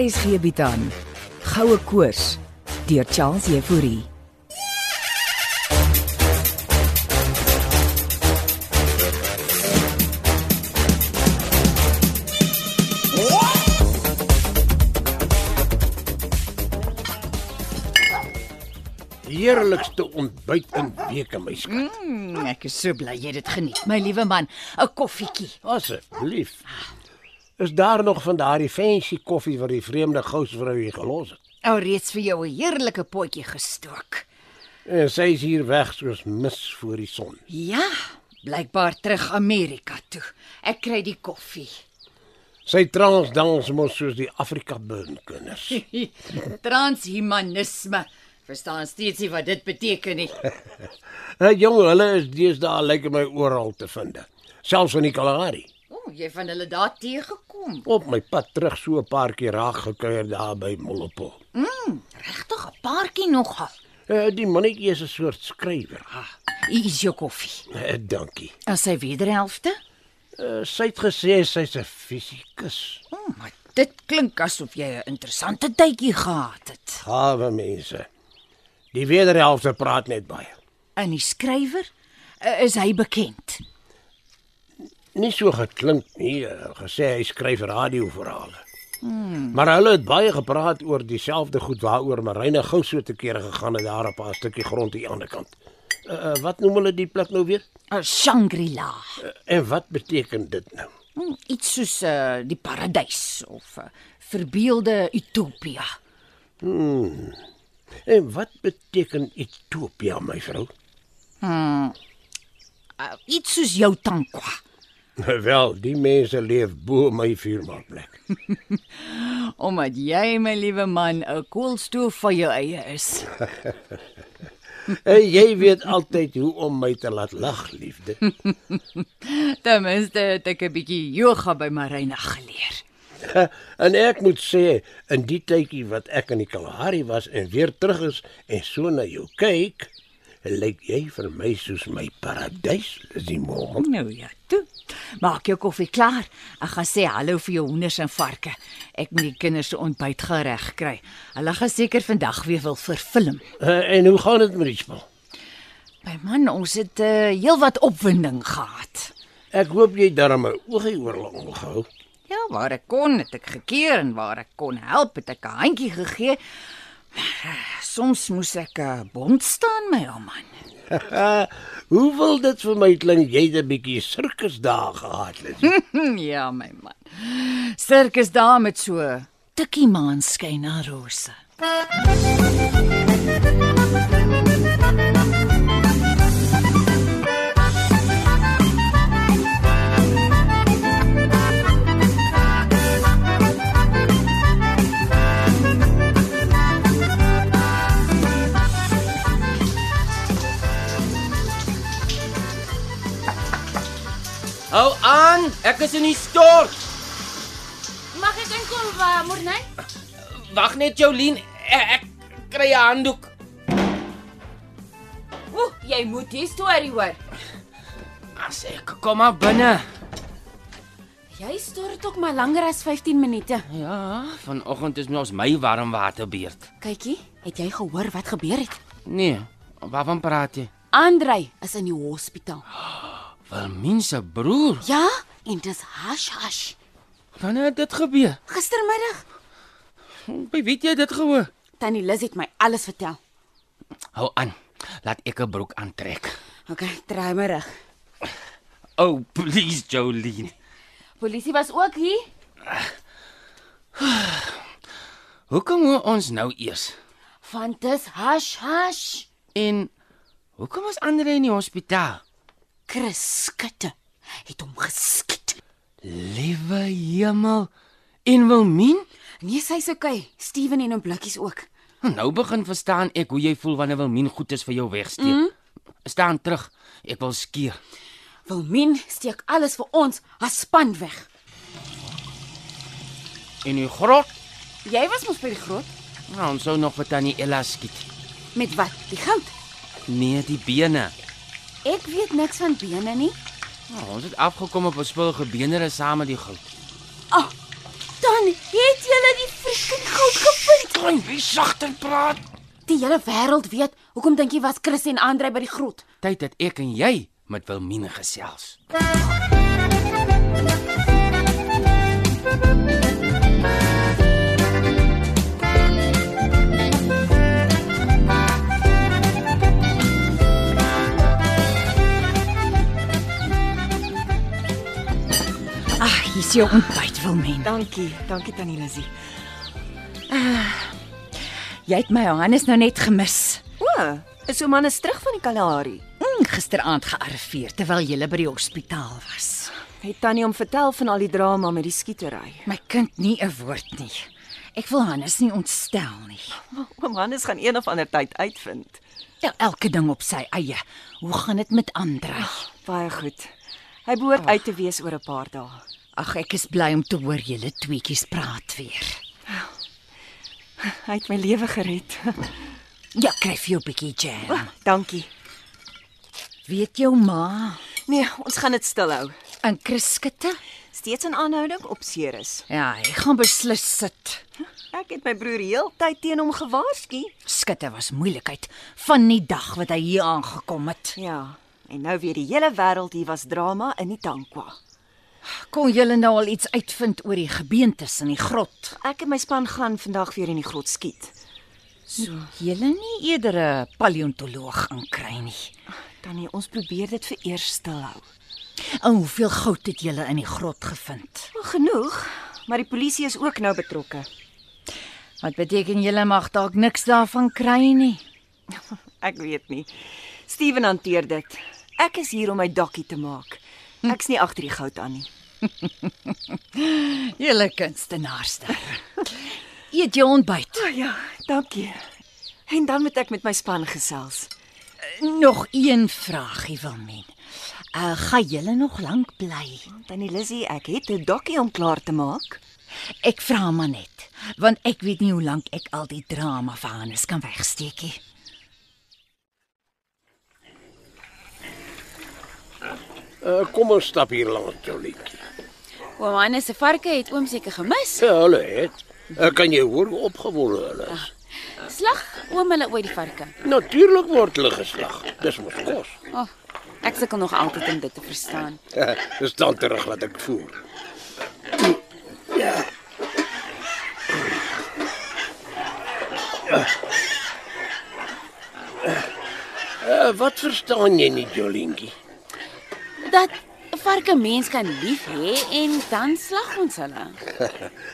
RSG bied aan Goue Koors deur Charles Euphorie. heerlikste ontbyt in weke, my skat. Mm, ek is so bly jy dit geniet, my liewe man. 'n Koffietjie. Asseblief. Is daar nog van daardie fancy koffie wat die vreemde gousvrou hier gelos het? Ou reeds vir jou 'n heerlike potjie gestook. En sy is hier weg soos mis voor die son. Ja, blykbaar terug Amerika toe. Ek kry die koffie. Sy transdans mos soos die Afrika burnkinders. Transhumanisme. Verstaan steeds nie wat dit beteken nie. Nou jong, hulle is deesdae lyk like my oral te vind. Selfs in die Kalahari. O, oh, jy van hulle daar teëgekom. Op my pad terug so 'n paar keer raak gekuier daar by Molopo. Mm, regtig 'n paartjie nogal. Ah, Uh, die mannetjie is 'n soort skrywer. Hier is jou koffie. Uh, dankie. En sy wederhelfte? Uh, sy het gesê sy's 'n fisikus. O, oh, maar dit klink asof jy 'n interessante tydjie gehad het. Gawe mense. Die wederhelfte praat net baie. En die skrywer, Eh, is hy bekend? Nie so geklink nie, eh, gesê hy skryf radioverhale. Hmm. Maar hulle het baie gepraat oor dieselfde goed waaroor Marine gou so te kere gegaan het daar op 'n stukkie grond aan die ander kant. Uh, uh, wat noem hulle die plek nou weer? 'n Eh, Shangri-La. Uh, en wat beteken dit nou? Hmm, Iets soos uh, die paradys of 'n uh, verbeelde utopia. En wat beteken Ethiopië, my vrou? Uh, iets soos jou tankwa. Wel, die mense leef bo my vuurmaakplek. Omdat jy, my liewe man, 'n koolstoof van jou eie is. en Eh, jy weet altyd hoe om my te laat lag, liefde. Ten minste het ek 'n bietjie yoga by Marina geleer. en ek moet sê, in die tydjie wat ek in die Kalahari was en weer terug is en so na jou kyk, lyk jy vir my soos my paradys, Simon. Nou ja, toe. Maak jou koffie klaar. Ek gaan sê hallo vir jou hoenders en varke. Ek moet die kinders se ontbyt gereg kry. Hulle gaan seker vandag weer wil verfilm. Uh, en hoe gaan dit met die spel? My man, ons het uh, heelwat opwinding gehad. Ek hoop jy het darm 'n oogie oorlang gehou. Ja, waar ek kon, het ek gekeer en waar ek kon help, het ek 'n handjie gegee. Maar eh, soms moes ek 'n bond staan my ou man. Eh, hoe wil dit vir my klink jy het 'n bietjie sirkusdae gehad, Lizzie? Hm, ja, my man. Sirkus daar met so tikkie maanskyn na rose. Hou aan, ek is in die stort. Mag ek inkom, wa- Morney? Wag net Jolien, e-, ek, ek kry 'n handdoek. Oeh, jy moet die storie hoor. As ek kom maar binne. Jy stort ook maar langer as 15 minute. Ja, vanoggend is my ons my warm water beurt. Kykie, het jy gehoor wat gebeur het? Nee, waarvan praat jy? Andrei is in die hospitaal. Wilmien se broer. Ja, en dis hash hash. Wanneer het dit gebeur? Gistermiddag, By wie het jy dit gehoor? tannie Liz het my alles vertel. Hou aan. Laat ek 'n broek aantrek. OK, draai my rug. Oh, please Jolien. Polisie was ook hier. Hoekom hoor ons nou eers? Want dis hash hash. En hoekom is Andre in die hospitaal? Chris skitte het hom geskiet. Liewe hemel. En Wilmien? Nee, sy's okay. Steven en hom blikkies ook. Nou begin verstaan ek hoe jy voel wanneer Wilmien goed is vir jou wegsteek. Mm. Staan terug. Ek wil skeer. Wilmien steek alles vir ons, haar span weg. En die grot, Jy was mos by die groot nou, ons sou nog vir tannie Ella skiet. met wat? Die goud. Nee, die bene. Ek weet niks van bene nie. Nou, ons het afgekom op 'n spul gebeenere saam met die goud. Dan het julle die vers Kan jy sagter praat? Die hele wêreld weet, hoekom dink jy was Chris en Andre by die grot? Tyd dat ek en jy met Wilmine gesels. Ag, hier's jou ontbyt, Wilmen. Dankie, dankie Tannie Lizzie. Jy het my Johannes nou net gemis. O, is so man is terug van die Kalahari. Mm, gisteraand gearriveer terwyl jy by die hospitaal was. Het Tannie hom vertel van al die drama met die skietery? My kind nie 'n woord nie. Ek wil Hannes nie ontstel nie. Oom Hannes gaan een of ander tyd uitvind. Ja, elke ding op sy eie. Hoe gaan dit met Andre? Baie goed. Hy behoort uit te wees oor 'n paar dae. Ag, ek is bly om te hoor julle tweetjies praat weer. Hy het my lewe gered. Ja, kry vir jou 'n bietjie Oh. jam. dankie. Weet jou ma Nee, ons gaan dit stil hou. in Kriskitte? Steeds in aanhouding op Ceres. Ja, hy gaan beslis sit. Ek het my broer heeltyd teen hom gewaarsku. Skitte was moeilikheid van die dag wat hy hier aangekom het. Ja, en nou weer die hele wêreld hier was drama in die Tankwa. Kon julle nou al iets uitvind oor die gebeentes in die grot? Ek en my span gaan vandag weer in die grot skiet. Julle nie eerder 'n paleontoloog inkry nie. Tannie, ons probeer dit vir eers stil hou. En hoeveel goud het julle in die grot gevind? Wel genoeg, maar die polisie is ook nou betrokke. Wat beteken julle mag dalk niks daarvan kry nie. Ek weet nie. Steven hanteer dit. Ek is hier om my dakkie te maak. Ek's nie agter die goud aan nie. Julle kunstenaarster. Eet jou ontbyt. O ja, dankie. En dan moet ek met my span gesels. Nog een vraagie wil men. Uh, gaan julle nog lank bly? Tannie Lizzy, ek het 'n dakkie om klaar te maak. Ek vra maar net, want ek weet nie hoe lank ek al die drama van Hannes kan wegsteek nie. Uh, kom ons stap hier langs jou liedjie. Oom Hannes se varke het oom seker gemis. Ja, hulle het. Uh, kan jy hoor hoe opgewonde hulle is? Slag oom hulle ooit die varke. Natuurlik word hulle geslag. Dis mos kos. O, oh, ek sukkel nog altyd om dit te verstaan. Dis dan terug wat ek voer. Ja. Uh, wat verstaan jy nie, Jolintjie? Dat 'n varke mens kan lief hê en dan slag ons hulle.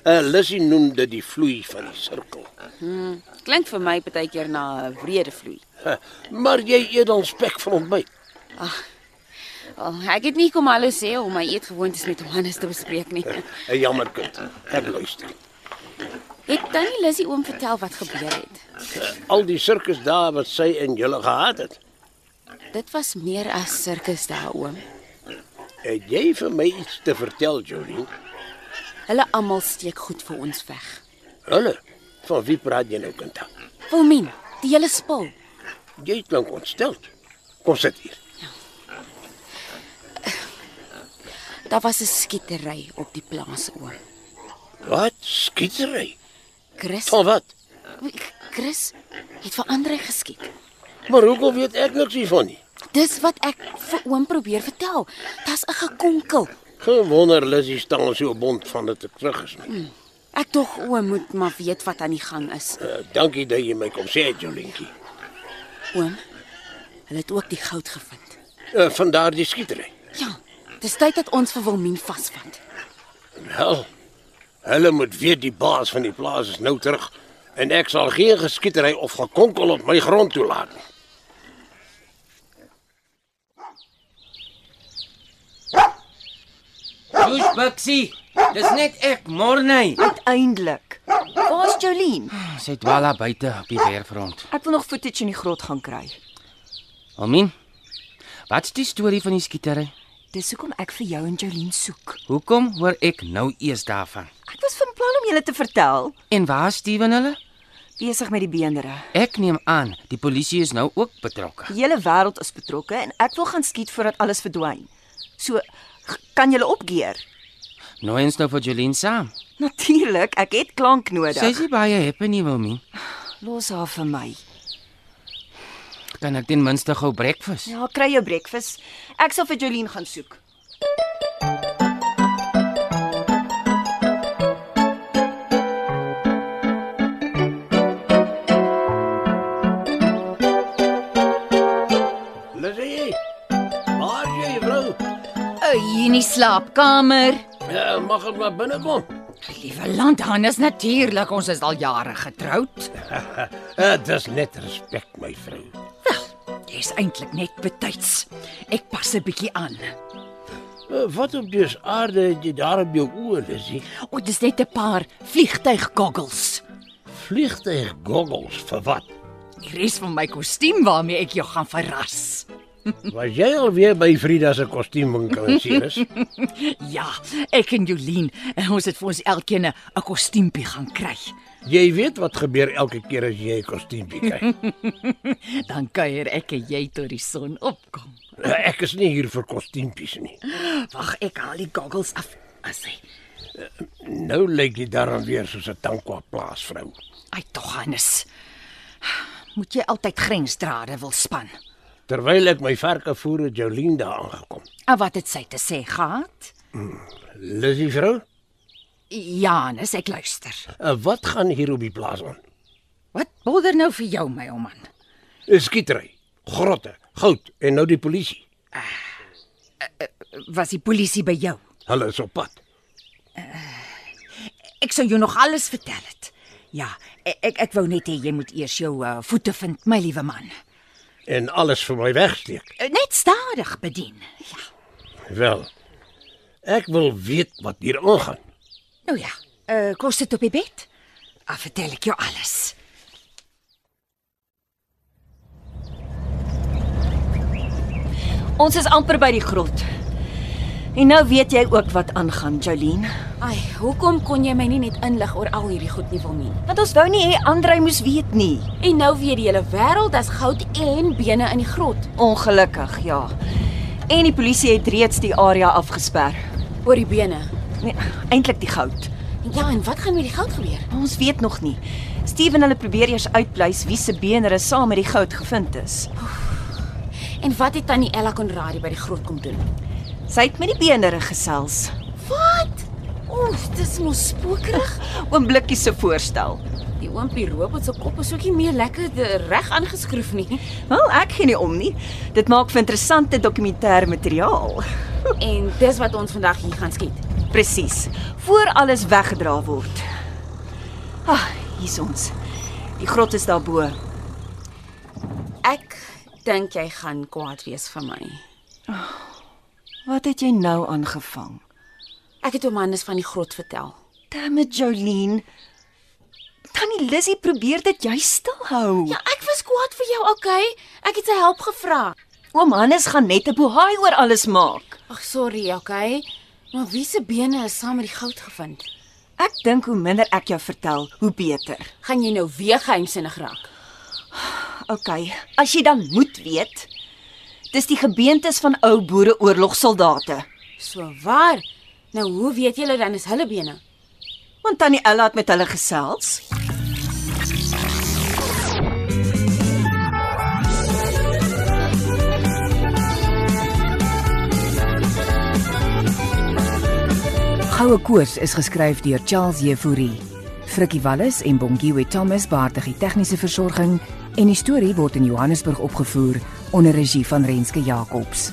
Uh, Lissy noem dit die vloei van die sirkel. Klink vir my baie keer na 'n wrede vloei. Uh, maar jy eet dan spek vir ontbyt. Oh, ek het nie kom hallo sê om my eetgewoontes met oom Hannes te bespreek nie. 'n Jammer kind. Ek luister. Het tannie Lissy oom vertel wat gebeur het? Al die sirkus daar wat sy en julle gehad het. Dit was meer as sirkus daar oom. Het jy vir my iets te vertel, Jolien? Hulle almal steek goed vir ons weg. Hulle. Van wie praat jy nou, kind? Wilmien, die hele spul. Jy klink ontsteld. Kom sit hier. Daar was 'n skietery op die plaas oom. Wat? Skietery? Chris, Van wat? Chris het vir Andre geskiet. Maar hoekom weet ek niks hiervan nie? Dis wat ek vir oom probeer vertel. Dit's 'n gekonkel. Gewonder Lissy staan so bond van dit ek terug is nie. Ek tog oom moet maar weet wat aan die gang is. Uh, dankie dat jy my kom sê, Jolientjie. Oom, hulle het ook die goud gevind. Uh, van daardie skietery. Ja, dis tyd dat ons vir Wilmien vasvat. Wel. Hulle moet weet die baas van die plaas is nou terug en ek sal geen geskietery of gekonkel op my grond toelaat nie. Joes Bixie, dis net ek, Morney. Uiteindelik. Waar's Hm. Jolien? Ah, Sy dwaal daar buite op die weerfront. Ek wil nog footage in die grot gaan kry. Almin. Wat's die storie van die skietery? Dis hoekom ek vir jou en Jolien soek. Hoekom hoor ek nou eers daarvan? Ek was van plan om julle te vertel, En waar is Steven hulle? besig met die beenderre. Ek neem aan die polisie is nou ook betrokke. Die hele wêreld is betrokke en ek wil gaan skiet voordat alles verdwyn. So g- kan julle opgeer. Nooi ons nou vir Jolene saam. Natuurlik, ek het klank nodig. Sy is nie baie happy nie, Wilmie. Los haar vir my. Kan ek ten minste gou breakfast? Ja, kry jou breakfast. Ek sal vir Jolene gaan soek. Lizzie. Waar is jy, vrou? O, hier in die slaapkamer. Ja, mag ek maar binne kom? Liewe land, Hannes, natuurlik, ons is al jare getroud. Uh, dis net respek, my vrou. Jy's eintlik net betyds. Ek pas 'n bietjie aan. Uh, wat op dis aarde het jy daar op jou oë, Lizzie? O, Oh, dis net 'n paar vliegtyg-goggles. Vliegtyg goggles vir wat? Die res van my kostuum waarmee ek jou gaan verras. Was jy alweer by Frida se kostuumwinkel in Ceres? Ja, ek en Jolien, eh, ons het vir ons elkeen 'n- 'n kostuumpie gaan kry. jy weet wat gebeur elke keer as jy 'n kostuumpie kry. Dan kuier ek en jy tot die son opkom. Uh, ek is nie hier vir kostuumpies nie. Wag, ek haal die goggles af. As hy, Nou lyk jy daarom weer soos 'n tankwa plaasvrou. ai tog Hannes. Moet jy altyd grensdrade wil span? Terwyl ek my verke voer het Jolien daar aangekom. En wat het sy te sê gehad? Lizzie vrou, Ja, Hannes, ek luister. uh, wat gaan hier op die plaas aan? Wat bother nou vir jou, my ou man? Skietery, grotte, goud en nou die polisie. Was die polisie by jou? Hulle is op pad. Ek sou jou nog alles vertel het. Ja, e- ek ek wou net hê jy moet eers jou uh, voete vind, my liewe man. en alles vir my wegsteek. Eh, Net stadig bedien. Ja. Wel. Ek wil weet wat hier aangaan. Nou ja, uh, kos dit op die bed? Af vertel ek jou alles. Ons is amper by die grot. En nou weet jy ook wat aangaan, Jolene. Ai, hoekom kon jy my nie net inlig oor al hierdie goed nie wil nie? Want ons wou nie hê Andrej moes weet nie. En nou weet die hele wêreld as goud en bene in die grot. Ongelukkig, ja. En die polisie het reeds die area afgesper. Oor die bene. Nee, eintlik die goud. Ja, en wat gaan met die goud gebeur? Maar ons weet nog nie. Steven hulle probeer eers uitpleis wie se beenere saam met die goud gevind is. En wat het tannie Ella Conradie by die grot kom doen? Sy het met die beenere gesels. Wat? Oef, dis mos spookerig. Oom Blikkie se voorstel. Die oompie robot se kop is ook nie meer lekker de- reg aangeskroef nie. Wel, ek gee nie om nie. Dit maak vir interessante dokumentêr materiaal. En dis wat ons vandag hier gaan skiet. Presies. Voor alles weggedra word. Ah, hier's ons. Die grot is daarbo. Ek dink jy gaan kwaad wees vir my. Wat het jy nou aangevang? Ek het hom anders van die grot vertel. Damn it, Jolene. Tannie Lissy probeer dit jy stil hou. Ja, ek was kwaad vir jou, okay? Ek het sy help gevra. Oom Hannes gaan net 'n bohaai oor alles maak. Ag, sorry, okay. Maar wie se bene is saam met die goud gevind? Ek dink hoe minder ek jou vertel, hoe beter. Gaan jy nou weer geheimsinnig raak? OK, as jy dan moet weet, dis die gebeentes van ou boereoorlogsoldate. So waar? Nou hoe weet julle dan is hulle bene? Want tannie Ella het met hulle gesels. Goue Koors is geskryf deur Charles Jefouri. Frikkie Wallis en Bongiwe Thomas baartig die tegniese versorging en die storie word in Johannesburg opgevoer onder regie van Renske Jacobs.